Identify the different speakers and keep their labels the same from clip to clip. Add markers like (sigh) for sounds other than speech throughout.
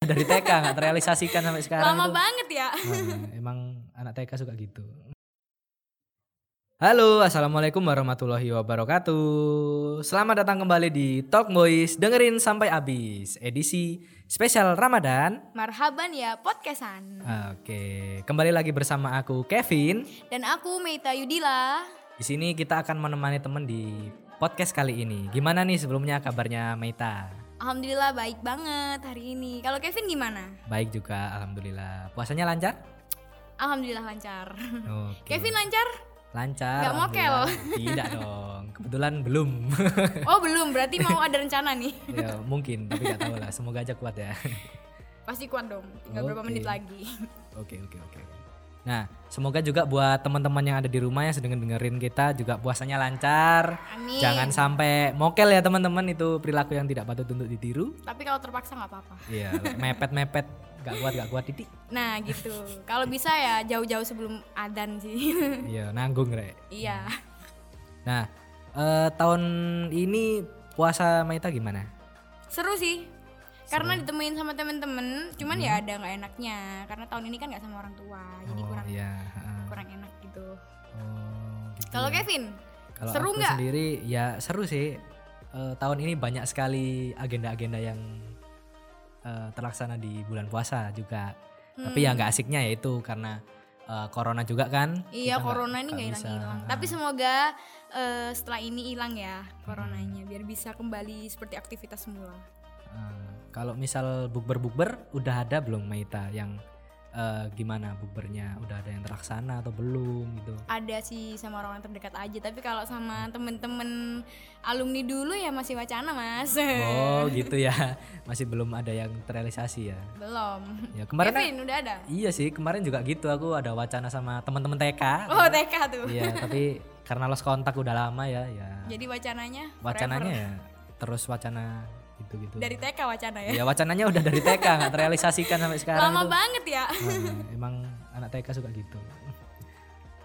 Speaker 1: (laughs) dari TK nggak terrealisasikan sampai sekarang.
Speaker 2: Lama
Speaker 1: itu.
Speaker 2: banget ya.
Speaker 1: Nah, emang anak TK suka gitu. Halo, assalamualaikum warahmatullahi wabarakatuh. Selamat datang kembali di Talk Boys. Dengerin sampai habis edisi spesial Ramadan.
Speaker 2: Marhaban ya podcastan.
Speaker 1: Oke, kembali lagi bersama aku Kevin.
Speaker 2: Dan aku Meita Yudila.
Speaker 1: Di sini kita akan menemani temen di podcast kali ini. Gimana nih sebelumnya kabarnya Meita?
Speaker 2: Alhamdulillah baik banget hari ini. Kalau Kevin gimana?
Speaker 1: Baik juga, alhamdulillah. Puasanya lancar?
Speaker 2: Alhamdulillah
Speaker 1: (laughs)
Speaker 2: lancar.
Speaker 1: Oke.
Speaker 2: Kevin lancar?
Speaker 1: lancar.
Speaker 2: Nggak mokel.
Speaker 1: alhamdulillah.
Speaker 2: (laughs)
Speaker 1: Tidak dong. Kebetulan belum. (laughs)
Speaker 2: Oh belum, berarti mau ada rencana nih.
Speaker 1: ya, mungkin, tapi nggak tahu lah. Semoga aja kuat ya. (laughs)
Speaker 2: Pasti kuat dong. Tinggal berapa
Speaker 1: Oke.
Speaker 2: menit lagi.
Speaker 1: Oke, oke, oke. Nah, semoga juga buat teman-teman yang ada di rumah yang sedang dengerin kita juga puasanya lancar.
Speaker 2: Amin.
Speaker 1: Jangan sampai mokel ya teman-teman itu perilaku yang tidak patut untuk ditiru.
Speaker 2: Tapi kalau terpaksa nggak apa-apa.
Speaker 1: Iya, mepet-mepet, nggak kuat, nggak kuat titik.
Speaker 2: Nah gitu. Kalau bisa ya jauh-jauh sebelum adan sih. (laughs)
Speaker 1: Iya, nanggung rek.
Speaker 2: iya.
Speaker 1: Nah, eh, tahun ini puasa Maita gimana?
Speaker 2: Seru sih. Karena ditemuin sama temen-temen, cuman
Speaker 1: Hmm.
Speaker 2: ya ada nggak enaknya. Karena tahun ini kan nggak sama orang tua, jadi kurang
Speaker 1: iya. heeh.
Speaker 2: kurang enak gitu.
Speaker 1: Oh, gitu.
Speaker 2: Kalau Kevin,
Speaker 1: Kalau
Speaker 2: seru
Speaker 1: aku
Speaker 2: nggak?
Speaker 1: sendiri ya seru sih. Eh, tahun ini banyak sekali agenda-agenda yang eh, terlaksana di bulan puasa juga. Tapi
Speaker 2: Hmm.
Speaker 1: ya nggak asiknya yaitu karena eh, corona juga kan.
Speaker 2: Iya
Speaker 1: Kita nggak-
Speaker 2: corona ini nggak
Speaker 1: nggak bisa. Ah,
Speaker 2: hilang-hilang. Tapi semoga eh, setelah ini hilang ya
Speaker 1: Hmm.
Speaker 2: coronanya, biar bisa kembali seperti aktivitas semula.
Speaker 1: Eh, kalau misal bukber-bukber udah ada belum Maita yang eh, gimana bukbernya? Udah ada yang terlaksana atau belum
Speaker 2: (laughs)
Speaker 1: gitu?
Speaker 2: Ada sih sama orang terdekat aja, tapi kalau sama temen-temen alumni dulu ya masih wacana mas.
Speaker 1: Oh gitu ya, masih belum ada yang terrealisasi ya.
Speaker 2: (laughs) Belum.
Speaker 1: Ya kemarin
Speaker 2: Kevin udah ada.
Speaker 1: iya sih kemarin juga gitu aku ada wacana sama teman-teman TK.
Speaker 2: Oh TK tuh.
Speaker 1: Iya tapi karena los kontak udah lama ya, ya
Speaker 2: Jadi wacananya?
Speaker 1: wacananya
Speaker 2: forever.
Speaker 1: ya terus wacana gitu-gitu.
Speaker 2: dari TK wacana ya.
Speaker 1: Ya wacananya udah dari TK nggak terrealisasikan sampai sekarang. itu.
Speaker 2: Lama banget ya.
Speaker 1: Nah, emang anak TK suka gitu.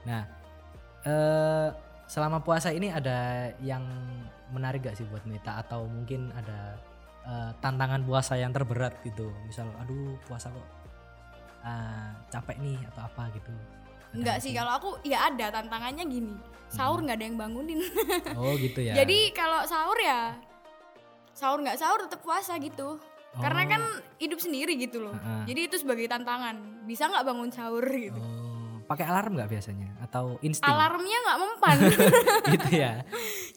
Speaker 1: Nah eh, selama puasa ini ada yang menarik gak sih buat Meta atau mungkin ada eh, tantangan puasa yang terberat gitu? Misal aduh puasa kok ah, capek nih atau apa gitu? Ada
Speaker 2: Enggak
Speaker 1: nggak
Speaker 2: sih kalau aku ya ada tantangannya gini. Sahur
Speaker 1: Hmm.
Speaker 2: nggak ada yang bangunin.
Speaker 1: Oh gitu ya.
Speaker 2: Jadi kalau sahur ya sahur nggak sahur tetap puasa gitu.
Speaker 1: Oh.
Speaker 2: Karena kan hidup sendiri gitu loh.
Speaker 1: Ha-ha.
Speaker 2: Jadi itu sebagai tantangan. Bisa nggak bangun sahur gitu.
Speaker 1: Oh, pakai alarm nggak biasanya atau insting?
Speaker 2: Alarmnya nggak mempan.
Speaker 1: (laughs) gitu ya.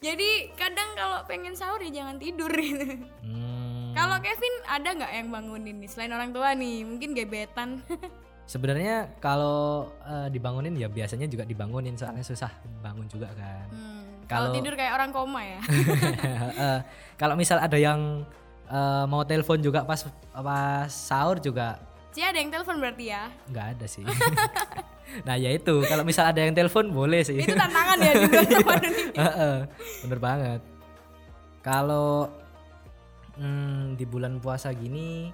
Speaker 2: Jadi kadang kalau pengen sahur ya jangan tidur gitu.
Speaker 1: Hmm,
Speaker 2: Kalau Kevin ada nggak yang bangunin nih selain orang tua nih? Mungkin gebetan.
Speaker 1: Sebenarnya kalau eh, dibangunin ya biasanya juga dibangunin soalnya susah bangun juga kan.
Speaker 2: Hmm, Kalau
Speaker 1: Kalau-
Speaker 2: tidur kayak orang koma
Speaker 1: (laughs)
Speaker 2: ya.
Speaker 1: Eh, kalau misal ada yang eh, mau telepon juga pas pas sahur juga
Speaker 2: Ci ada yang telepon berarti ya.
Speaker 1: nggak ada
Speaker 2: (laughs)
Speaker 1: sih. nah ya itu kalau misal ada yang telepon boleh sih.
Speaker 2: Itu tantangan ya
Speaker 1: (laughs)
Speaker 2: juga sama dunia.
Speaker 1: Heeh, Bener banget. Kalau hmm, di bulan puasa gini,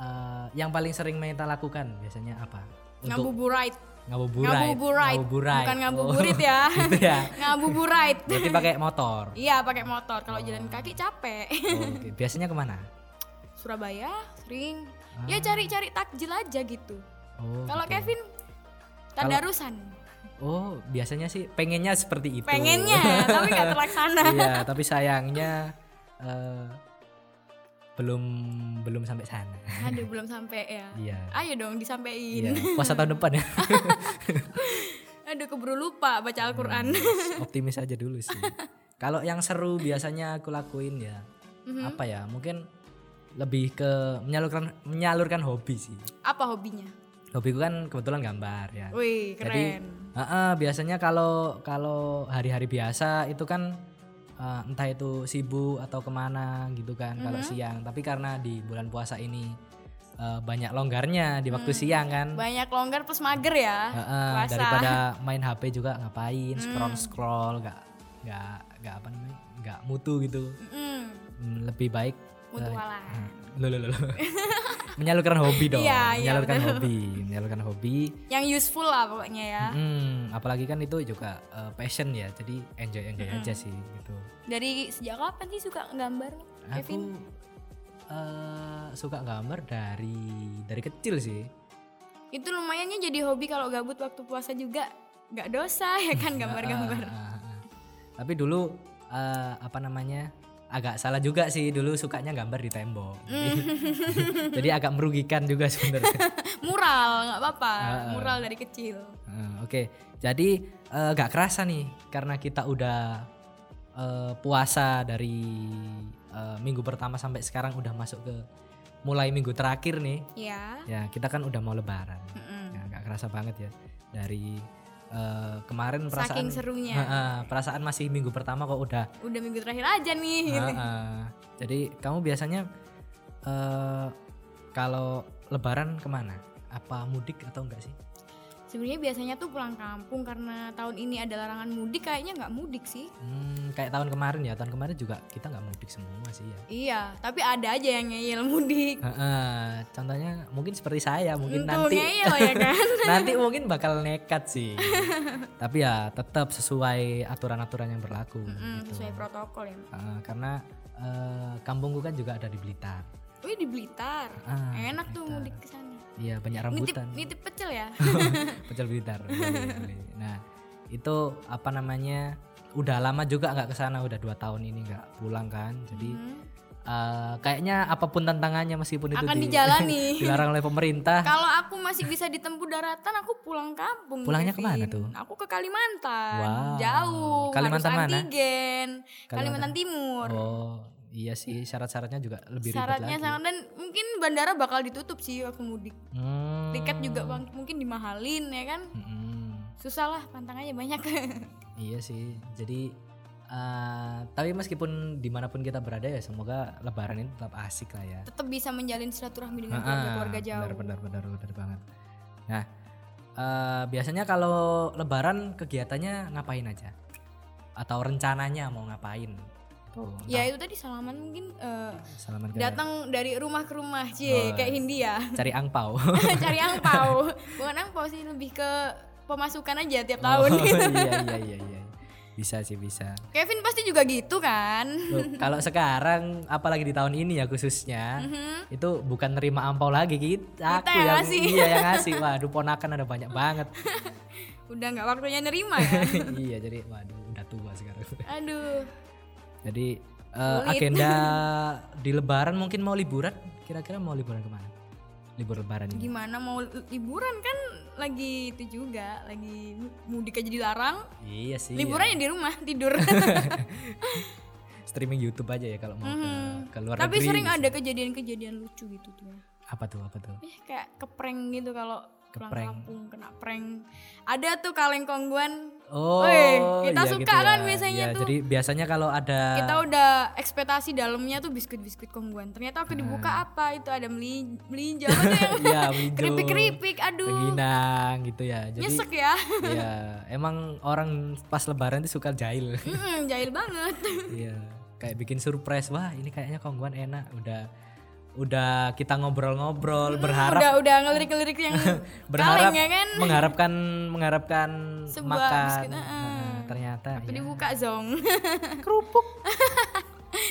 Speaker 1: eh, yang paling sering Meta lakukan biasanya apa?
Speaker 2: Ngabuburit.
Speaker 1: ngabuburait.
Speaker 2: Ngabuburit.
Speaker 1: Ngabuburait.
Speaker 2: Bukan
Speaker 1: Oh,
Speaker 2: ngabuburit ya.
Speaker 1: (laughs) gitu ya.
Speaker 2: Ngabuburit.
Speaker 1: Berarti pakai motor.
Speaker 2: Iya, pakai motor. Kalau jalan kaki capek. (laughs)
Speaker 1: Oh, oke. Biasanya kemana?
Speaker 2: Surabaya sering.
Speaker 1: Ah.
Speaker 2: Ya cari-cari takjil aja gitu.
Speaker 1: Oh,
Speaker 2: Kalau
Speaker 1: gitu.
Speaker 2: Kevin tadarusan.
Speaker 1: Oh, biasanya sih pengennya seperti itu. (laughs)
Speaker 2: Pengennya, tapi nggak terlaksana.
Speaker 1: iya, tapi sayangnya eh, belum belum sampai sana.
Speaker 2: Aduh, belum sampai ya.
Speaker 1: Iya.
Speaker 2: Ayo dong disampaikan.
Speaker 1: Iya, puasa tahun depan ya.
Speaker 2: (laughs) Aduh, keburu lupa baca Al-Qur'an.
Speaker 1: (laughs) Hmm. Optimis aja dulu sih. Kalau yang seru biasanya aku lakuin ya apa ya? Mungkin lebih ke menyalurkan menyalurkan hobi sih.
Speaker 2: (laughs) Apa hobinya?
Speaker 1: Hobiku kan kebetulan gambar ya.
Speaker 2: Wih,
Speaker 1: Jadi
Speaker 2: keren.
Speaker 1: heeh, biasanya kalau kalau hari-hari biasa itu kan eh, entah itu sibuk atau kemana gitu kan kalau
Speaker 2: Mm-hmm.
Speaker 1: siang. Tapi karena di bulan puasa ini eh, banyak longgarnya di waktu siang kan.
Speaker 2: Mm-hmm. Banyak longgar plus mager ya.
Speaker 1: Heeh,
Speaker 2: puasa. Mm.
Speaker 1: daripada main HP juga ngapain scroll scroll nggak nggak nggak apa namanya nggak mutu gitu.
Speaker 2: Mm,
Speaker 1: Hmm, Lebih baik Ah. mm,
Speaker 2: mutualan.
Speaker 1: lo lo
Speaker 2: (laughs)
Speaker 1: lo menyalurkan hobi dong
Speaker 2: Iya, iya,
Speaker 1: menyalurkan hobi menyalurkan hobi
Speaker 2: Yang useful lah pokoknya ya.
Speaker 1: Hmm, apalagi kan itu juga eh, passion ya, jadi enjoy enjoy aja sih gitu.
Speaker 2: Dari sejak kapan sih suka gambar?
Speaker 1: Aku
Speaker 2: Kevin?
Speaker 1: eh, suka gambar dari dari kecil sih.
Speaker 2: Itu lumayannya jadi hobi kalau gabut waktu puasa juga. Gak dosa (laughs) ya
Speaker 1: (laughs)
Speaker 2: kan gambar-gambar.
Speaker 1: Ah, ah, ah. Tapi dulu eh, apa namanya? agak salah juga sih dulu sukanya gambar di tembok. Jadi,
Speaker 2: Mm.
Speaker 1: (laughs) jadi agak merugikan juga sebenarnya.
Speaker 2: mural nggak apa-apa. Mural dari kecil.
Speaker 1: Eh, Oke, jadi eh, nggak kerasa nih karena kita udah eh, puasa dari eh, minggu pertama sampai sekarang udah masuk ke mulai minggu terakhir nih.
Speaker 2: Ya.
Speaker 1: Ya kita kan udah mau Lebaran. Ya
Speaker 2: Mm-mm.
Speaker 1: nggak kerasa banget ya dari eh, kemarin perasaan
Speaker 2: Saking serunya.
Speaker 1: Ha, ha, perasaan masih minggu pertama kok udah.
Speaker 2: Udah minggu terakhir aja nih.
Speaker 1: Ha,
Speaker 2: gitu.
Speaker 1: ha. Jadi kamu biasanya eh, kalau Lebaran kemana? Apa mudik atau enggak sih?
Speaker 2: Sebenarnya biasanya tuh pulang kampung karena tahun ini ada larangan mudik kayaknya nggak mudik sih.
Speaker 1: Hmm, kayak tahun kemarin ya, tahun kemarin juga kita nggak mudik semua sih ya.
Speaker 2: Iya, tapi ada aja yang ngeyel mudik.
Speaker 1: Heeh, contohnya mungkin seperti saya, Nah, mungkin
Speaker 2: Tuh
Speaker 1: nanti
Speaker 2: ngeyel
Speaker 1: (laughs)
Speaker 2: ya (laughs) kan.
Speaker 1: nanti mungkin bakal nekat sih. Tapi ya tetap sesuai aturan-aturan yang berlaku.
Speaker 2: Mm,
Speaker 1: gitu.
Speaker 2: sesuai protokol ya.
Speaker 1: Heeh, karena eh, kampungku kan juga ada di Blitar.
Speaker 2: Wih di Blitar.
Speaker 1: Ah,
Speaker 2: Enak tuh
Speaker 1: Blitar.
Speaker 2: mudik ke sana.
Speaker 1: Iya banyak
Speaker 2: Nitip
Speaker 1: rambutan.
Speaker 2: nitip pecel ya.
Speaker 1: (laughs) Pecel Blitar. Boleh, boleh. Nah itu apa namanya? Udah lama juga nggak kesana, udah dua tahun ini nggak pulang kan. Jadi
Speaker 2: Hmm.
Speaker 1: Eh, kayaknya apapun tantangannya meskipun itu
Speaker 2: Akan
Speaker 1: di-
Speaker 2: dijalani.
Speaker 1: (laughs) dilarang oleh pemerintah
Speaker 2: Kalau aku masih bisa ditempuh daratan, aku pulang kampung.
Speaker 1: Pulangnya
Speaker 2: Kevin.
Speaker 1: kemana tuh?
Speaker 2: Aku ke Kalimantan.
Speaker 1: Wow.
Speaker 2: Jauh.
Speaker 1: Kalimantan
Speaker 2: harus
Speaker 1: mana?
Speaker 2: Antigen. Kalimantan,
Speaker 1: Kalimantan.
Speaker 2: Timur.
Speaker 1: oh iya sih syarat-syaratnya juga lebih ribet
Speaker 2: Syaratnya
Speaker 1: lagi
Speaker 2: sama dan mungkin bandara bakal ditutup sih waktu mudik.
Speaker 1: Hmm.
Speaker 2: Tiket juga bang, mungkin dimahalin ya kan.
Speaker 1: Mm-mm.
Speaker 2: Susah lah, tantangannya banyak.
Speaker 1: Hmm,
Speaker 2: (laughs)
Speaker 1: iya sih jadi eh, tapi meskipun dimanapun kita berada ya semoga lebaran ini tetap asik lah ya
Speaker 2: Tetap bisa menjalin silaturahmi
Speaker 1: Ah,
Speaker 2: dengan keluarga-keluarga Iya, jauh.
Speaker 1: benar benar benar benar banget nah eh, biasanya kalau lebaran kegiatannya ngapain aja atau rencananya mau ngapain tuh
Speaker 2: Ya itu tadi salaman mungkin eh,
Speaker 1: salaman ke-
Speaker 2: datang dari rumah ke rumah, cie,
Speaker 1: Iya. Oh.
Speaker 2: kayak Hindia. (laughs)
Speaker 1: cari angpau
Speaker 2: Cari angpau. Bukan angpau sih, lebih ke pemasukan aja tiap tahun.
Speaker 1: Oh, iya iya iya iya. Bisa sih bisa.
Speaker 2: Kevin pasti juga gitu kan? (laughs)
Speaker 1: Loh, kalau sekarang apalagi di tahun ini ya khususnya
Speaker 2: Mhm.
Speaker 1: itu bukan nerima ampau lagi kita aku
Speaker 2: Mm-hmm. yang
Speaker 1: yang
Speaker 2: ngasih.
Speaker 1: iya yang
Speaker 2: (laughs)
Speaker 1: ngasih. Waduh ponakan ada banyak banget. (laughs)
Speaker 2: Udah nggak waktunya nerima ya.
Speaker 1: iya jadi waduh udah tua sekarang.
Speaker 2: Aduh,
Speaker 1: Jadi eh, agenda
Speaker 2: (laughs)
Speaker 1: di lebaran mungkin mau liburan kira-kira mau liburan kemana? Libur lebaran ini.
Speaker 2: gimana mau li- liburan kan lagi itu juga, lagi mu- mudik aja dilarang.
Speaker 1: Iya sih.
Speaker 2: Liburan ya di rumah
Speaker 1: (laughs)
Speaker 2: tidur.
Speaker 1: Streaming YouTube aja ya kalau mau ke- ke, luar
Speaker 2: Mm-hmm. Tapi
Speaker 1: negeri.
Speaker 2: sering ada kejadian-kejadian lucu gitu tuh.
Speaker 1: Apa tuh apa tuh?
Speaker 2: Eh kayak keprank gitu kalau pulang
Speaker 1: Keprank.
Speaker 2: kampung kena prank. Ada tuh kaleng kongguan.
Speaker 1: Oh,
Speaker 2: Weh, kita
Speaker 1: iya
Speaker 2: suka
Speaker 1: gitu
Speaker 2: kan
Speaker 1: ya.
Speaker 2: biasanya
Speaker 1: Iya,
Speaker 2: tuh.
Speaker 1: Jadi biasanya kalau ada
Speaker 2: Kita udah ekspektasi dalamnya tuh biskuit-biskuit kongguan. Ternyata aku
Speaker 1: Ah.
Speaker 2: dibuka apa? Itu ada meli melinjo apa
Speaker 1: (laughs)
Speaker 2: tuh yang
Speaker 1: (laughs) Iya, melinjo.
Speaker 2: keripik-keripik. Aduh,
Speaker 1: Rengginang gitu ya. Jadi
Speaker 2: nyesek ya.
Speaker 1: ya emang orang pas lebaran tuh suka jahil. (laughs)
Speaker 2: Mm-mm, jahil banget. (laughs)
Speaker 1: Iya, kayak bikin surprise. Wah, ini kayaknya kongguan enak. Udah udah kita ngobrol-ngobrol, berharap
Speaker 2: udah udah ngelirik-ngelirik yang
Speaker 1: (laughs) berharap
Speaker 2: kaleng ya kan.
Speaker 1: mengharapkan mengharapkan
Speaker 2: Sebuah
Speaker 1: makan.
Speaker 2: biskuit,
Speaker 1: Nah, ternyata
Speaker 2: Tapi
Speaker 1: ya.
Speaker 2: dibuka zong. (laughs)
Speaker 1: kerupuk.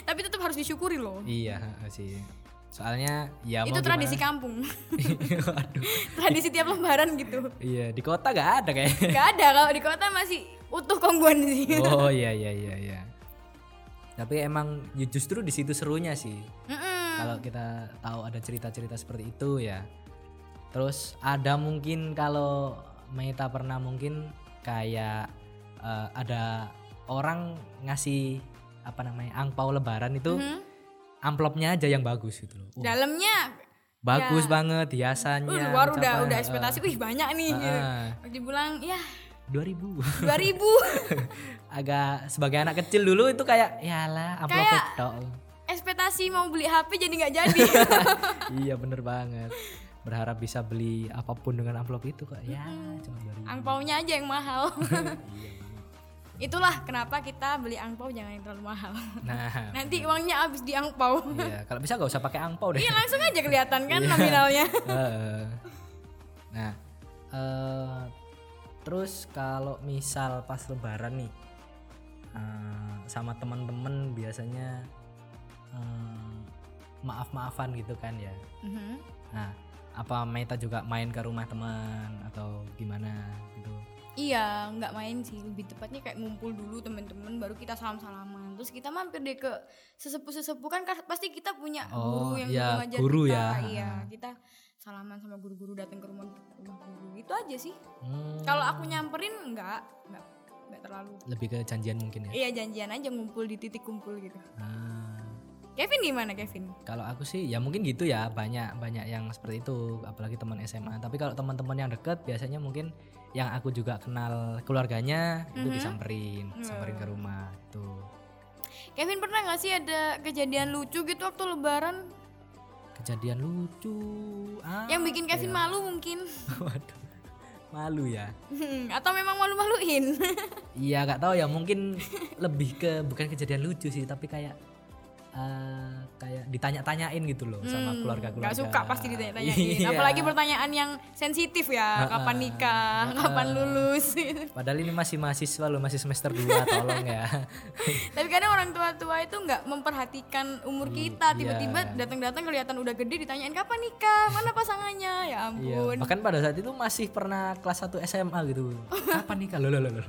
Speaker 2: Tapi tetap harus disyukuri loh.
Speaker 1: Iya, heeh sih. Soalnya ya
Speaker 2: Itu
Speaker 1: mau
Speaker 2: tradisi kampung. (laughs)
Speaker 1: gimana. (laughs) Waduh.
Speaker 2: tradisi tiap lebaran gitu.
Speaker 1: Iya, di kota gak ada kayak.
Speaker 2: (laughs) Gak ada kalau di kota masih utuh kongguan sih.
Speaker 1: Oh iya iya iya iya. Tapi emang ya justru di situ serunya sih.
Speaker 2: Mm-mm.
Speaker 1: Kalau kita tahu ada cerita-cerita seperti itu ya. Terus ada mungkin kalau Meta pernah mungkin kayak eh, ada orang ngasih apa namanya angpau lebaran itu amplopnya aja yang bagus gitu loh.
Speaker 2: Nah,
Speaker 1: Wah,
Speaker 2: Dalamnya
Speaker 1: bagus banget hiasannya.
Speaker 2: uh, luar iya. udah
Speaker 1: ucapan,
Speaker 2: udah ekspektasi, wih banyak nih. gitu.
Speaker 1: ah.
Speaker 2: Terus Dibilang ya
Speaker 1: 2000.
Speaker 2: 2000
Speaker 1: (laughs) Agak sebagai anak kecil dulu itu kayak yalah amplop
Speaker 2: Kayak-
Speaker 1: tok.
Speaker 2: ekspektasi mau beli HP jadi nggak jadi.
Speaker 1: (laughs) iya bener banget berharap bisa beli apapun dengan amplop itu kok ya cuma beli
Speaker 2: Angpaunya aja yang mahal. (laughs) Itulah kenapa kita beli angpau jangan yang terlalu mahal. (laughs)
Speaker 1: nah
Speaker 2: Nanti uangnya habis di (laughs) angpau.
Speaker 1: iya kalau bisa nggak usah pakai angpau deh
Speaker 2: Iya langsung aja kelihatan kan nominalnya.
Speaker 1: Heeh. nah eh, terus kalau misal pas lebaran nih eh, sama teman-teman biasanya eh, maaf-maafan gitu kan ya.
Speaker 2: (laughs) Mhm.
Speaker 1: Nah, apa Meta juga main ke rumah teman atau gimana gitu?
Speaker 2: Iya, nggak main sih. Lebih tepatnya kayak ngumpul dulu temen-temen, baru kita salam-salaman. Terus kita mampir deh ke sesepuh-sesepuh kan kas- pasti kita punya
Speaker 1: Oh,
Speaker 2: guru yang
Speaker 1: iya,
Speaker 2: ngajar
Speaker 1: guru
Speaker 2: kita.
Speaker 1: ya.
Speaker 2: Iya, kita salaman sama guru-guru datang ke rumah rumah guru. Itu aja sih.
Speaker 1: Hmm,
Speaker 2: Kalau aku nyamperin nggak, nggak nggak terlalu.
Speaker 1: lebih ke janjian mungkin ya.
Speaker 2: Iya, janjian aja ngumpul di titik kumpul gitu.
Speaker 1: Nah,
Speaker 2: Kevin gimana Kevin?
Speaker 1: kalau aku sih ya mungkin gitu ya banyak banyak yang seperti itu apalagi teman SMA. Tapi kalau teman-teman yang deket biasanya mungkin yang aku juga kenal keluarganya itu
Speaker 2: Mhm.
Speaker 1: disamperin, samperin ke
Speaker 2: Hmm.
Speaker 1: rumah gitu. tuh.
Speaker 2: Kevin pernah nggak sih ada kejadian lucu gitu waktu lebaran
Speaker 1: Kejadian lucu.
Speaker 2: yang bikin
Speaker 1: apa
Speaker 2: Kevin
Speaker 1: ya?
Speaker 2: malu mungkin?
Speaker 1: (laughs) Waduh. Malu ya.
Speaker 2: (laughs) Atau memang malu-maluin?
Speaker 1: Iya gak tahu ya mungkin lebih ke bukan kejadian lucu sih tapi kayak eh, kayak ditanya-tanyain gitu loh sama
Speaker 2: Hmm,
Speaker 1: keluarga-keluarga.
Speaker 2: nggak suka pasti ditanya-tanyain.
Speaker 1: (laughs) Iya. Ah,
Speaker 2: Apalagi pertanyaan yang sensitif ya.
Speaker 1: Ha-ha.
Speaker 2: Kapan nikah?
Speaker 1: Ha-ha.
Speaker 2: Kapan lulus? (laughs)
Speaker 1: Padahal ini masih mahasiswa loh masih semester 2 tolong ya.
Speaker 2: Tapi kadang orang tua-tua itu nggak memperhatikan
Speaker 1: Hmm,
Speaker 2: umur
Speaker 1: iya.
Speaker 2: kita. Tiba-tiba datang-datang kelihatan udah gede ditanyain kapan nikah? Mana pasangannya? Ya
Speaker 1: Iya.
Speaker 2: ampun.
Speaker 1: Bahkan pada saat itu masih pernah kelas 1 SMA
Speaker 2: (laughs)
Speaker 1: gitu. Kapan nikah loh loh loh, loh.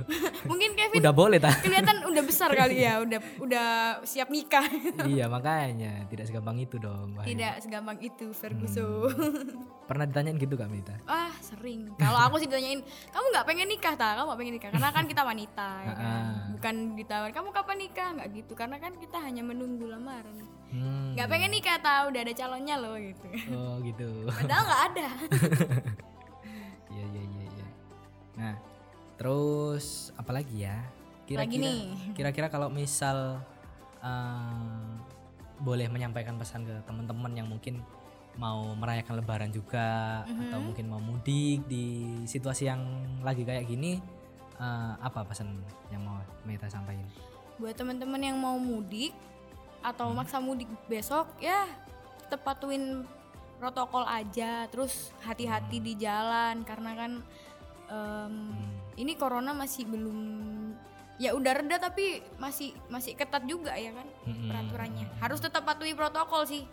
Speaker 2: Mungkin
Speaker 1: (laughs)
Speaker 2: Kevin
Speaker 1: Udah boleh tak?
Speaker 2: kelihatan udah besar kali ya. Udah udah siap nikah.
Speaker 1: iya makanya tidak segampang itu dong. Wahyu.
Speaker 2: Tidak segampang itu Ferguson.
Speaker 1: Hmm. Pernah ditanyain gitu Kak Mita?
Speaker 2: Wah Ah, sering. Kalau aku sih ditanyain, kamu nggak pengen nikah ta? Kamu nggak pengen nikah? Karena kan kita wanita, ya kan?
Speaker 1: Ah.
Speaker 2: bukan ditawarin kamu kapan nikah nggak gitu. Karena kan kita hanya menunggu lamaran.
Speaker 1: Hmm.
Speaker 2: Nggak pengen nikah ta? Udah ada calonnya loh gitu.
Speaker 1: Oh gitu.
Speaker 2: Padahal nggak ada.
Speaker 1: Iya iya iya iya. Nah, terus apalagi ya?
Speaker 2: Lagi
Speaker 1: Kira-kira
Speaker 2: nih.
Speaker 1: kira-kira kalau misal eh, boleh menyampaikan pesan ke teman-teman yang mungkin mau merayakan lebaran juga
Speaker 2: Mm-hmm.
Speaker 1: atau mungkin mau mudik di situasi yang lagi kayak gini eh, apa pesan yang mau Meta sampaikan?
Speaker 2: Buat teman-teman yang mau mudik atau maksa mudik besok ya tepatuin protokol aja. Terus hati-hati di jalan karena kan mmm, em,
Speaker 1: Hmm.
Speaker 2: ini corona masih belum ya udah reda tapi masih masih ketat juga ya kan
Speaker 1: Mm-mm.
Speaker 2: peraturannya harus tetap patuhi protokol sih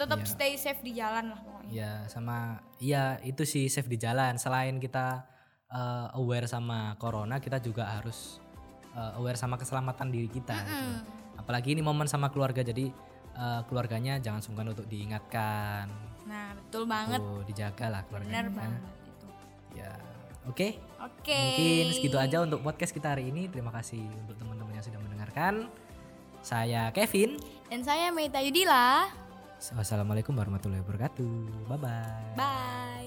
Speaker 2: tetap
Speaker 1: Iya.
Speaker 2: stay safe di jalan lah pokoknya
Speaker 1: Ya sama iya itu sih safe di jalan. Selain kita eh, aware sama corona, kita juga harus eh, aware sama keselamatan diri kita. gitu. Apalagi ini momen sama keluarga, jadi eh, keluarganya jangan sungkan untuk diingatkan,
Speaker 2: nah betul banget
Speaker 1: tuh dijagalah keluarganya. kan?
Speaker 2: bener banget itu
Speaker 1: Ya oke.
Speaker 2: oke
Speaker 1: Mungkin segitu aja untuk podcast kita hari ini. Terima kasih untuk teman-teman yang sudah mendengarkan. Saya Kevin.
Speaker 2: dan saya Meita Yudila
Speaker 1: Wassalamualaikum warahmatullahi wabarakatuh. Bye bye.
Speaker 2: bye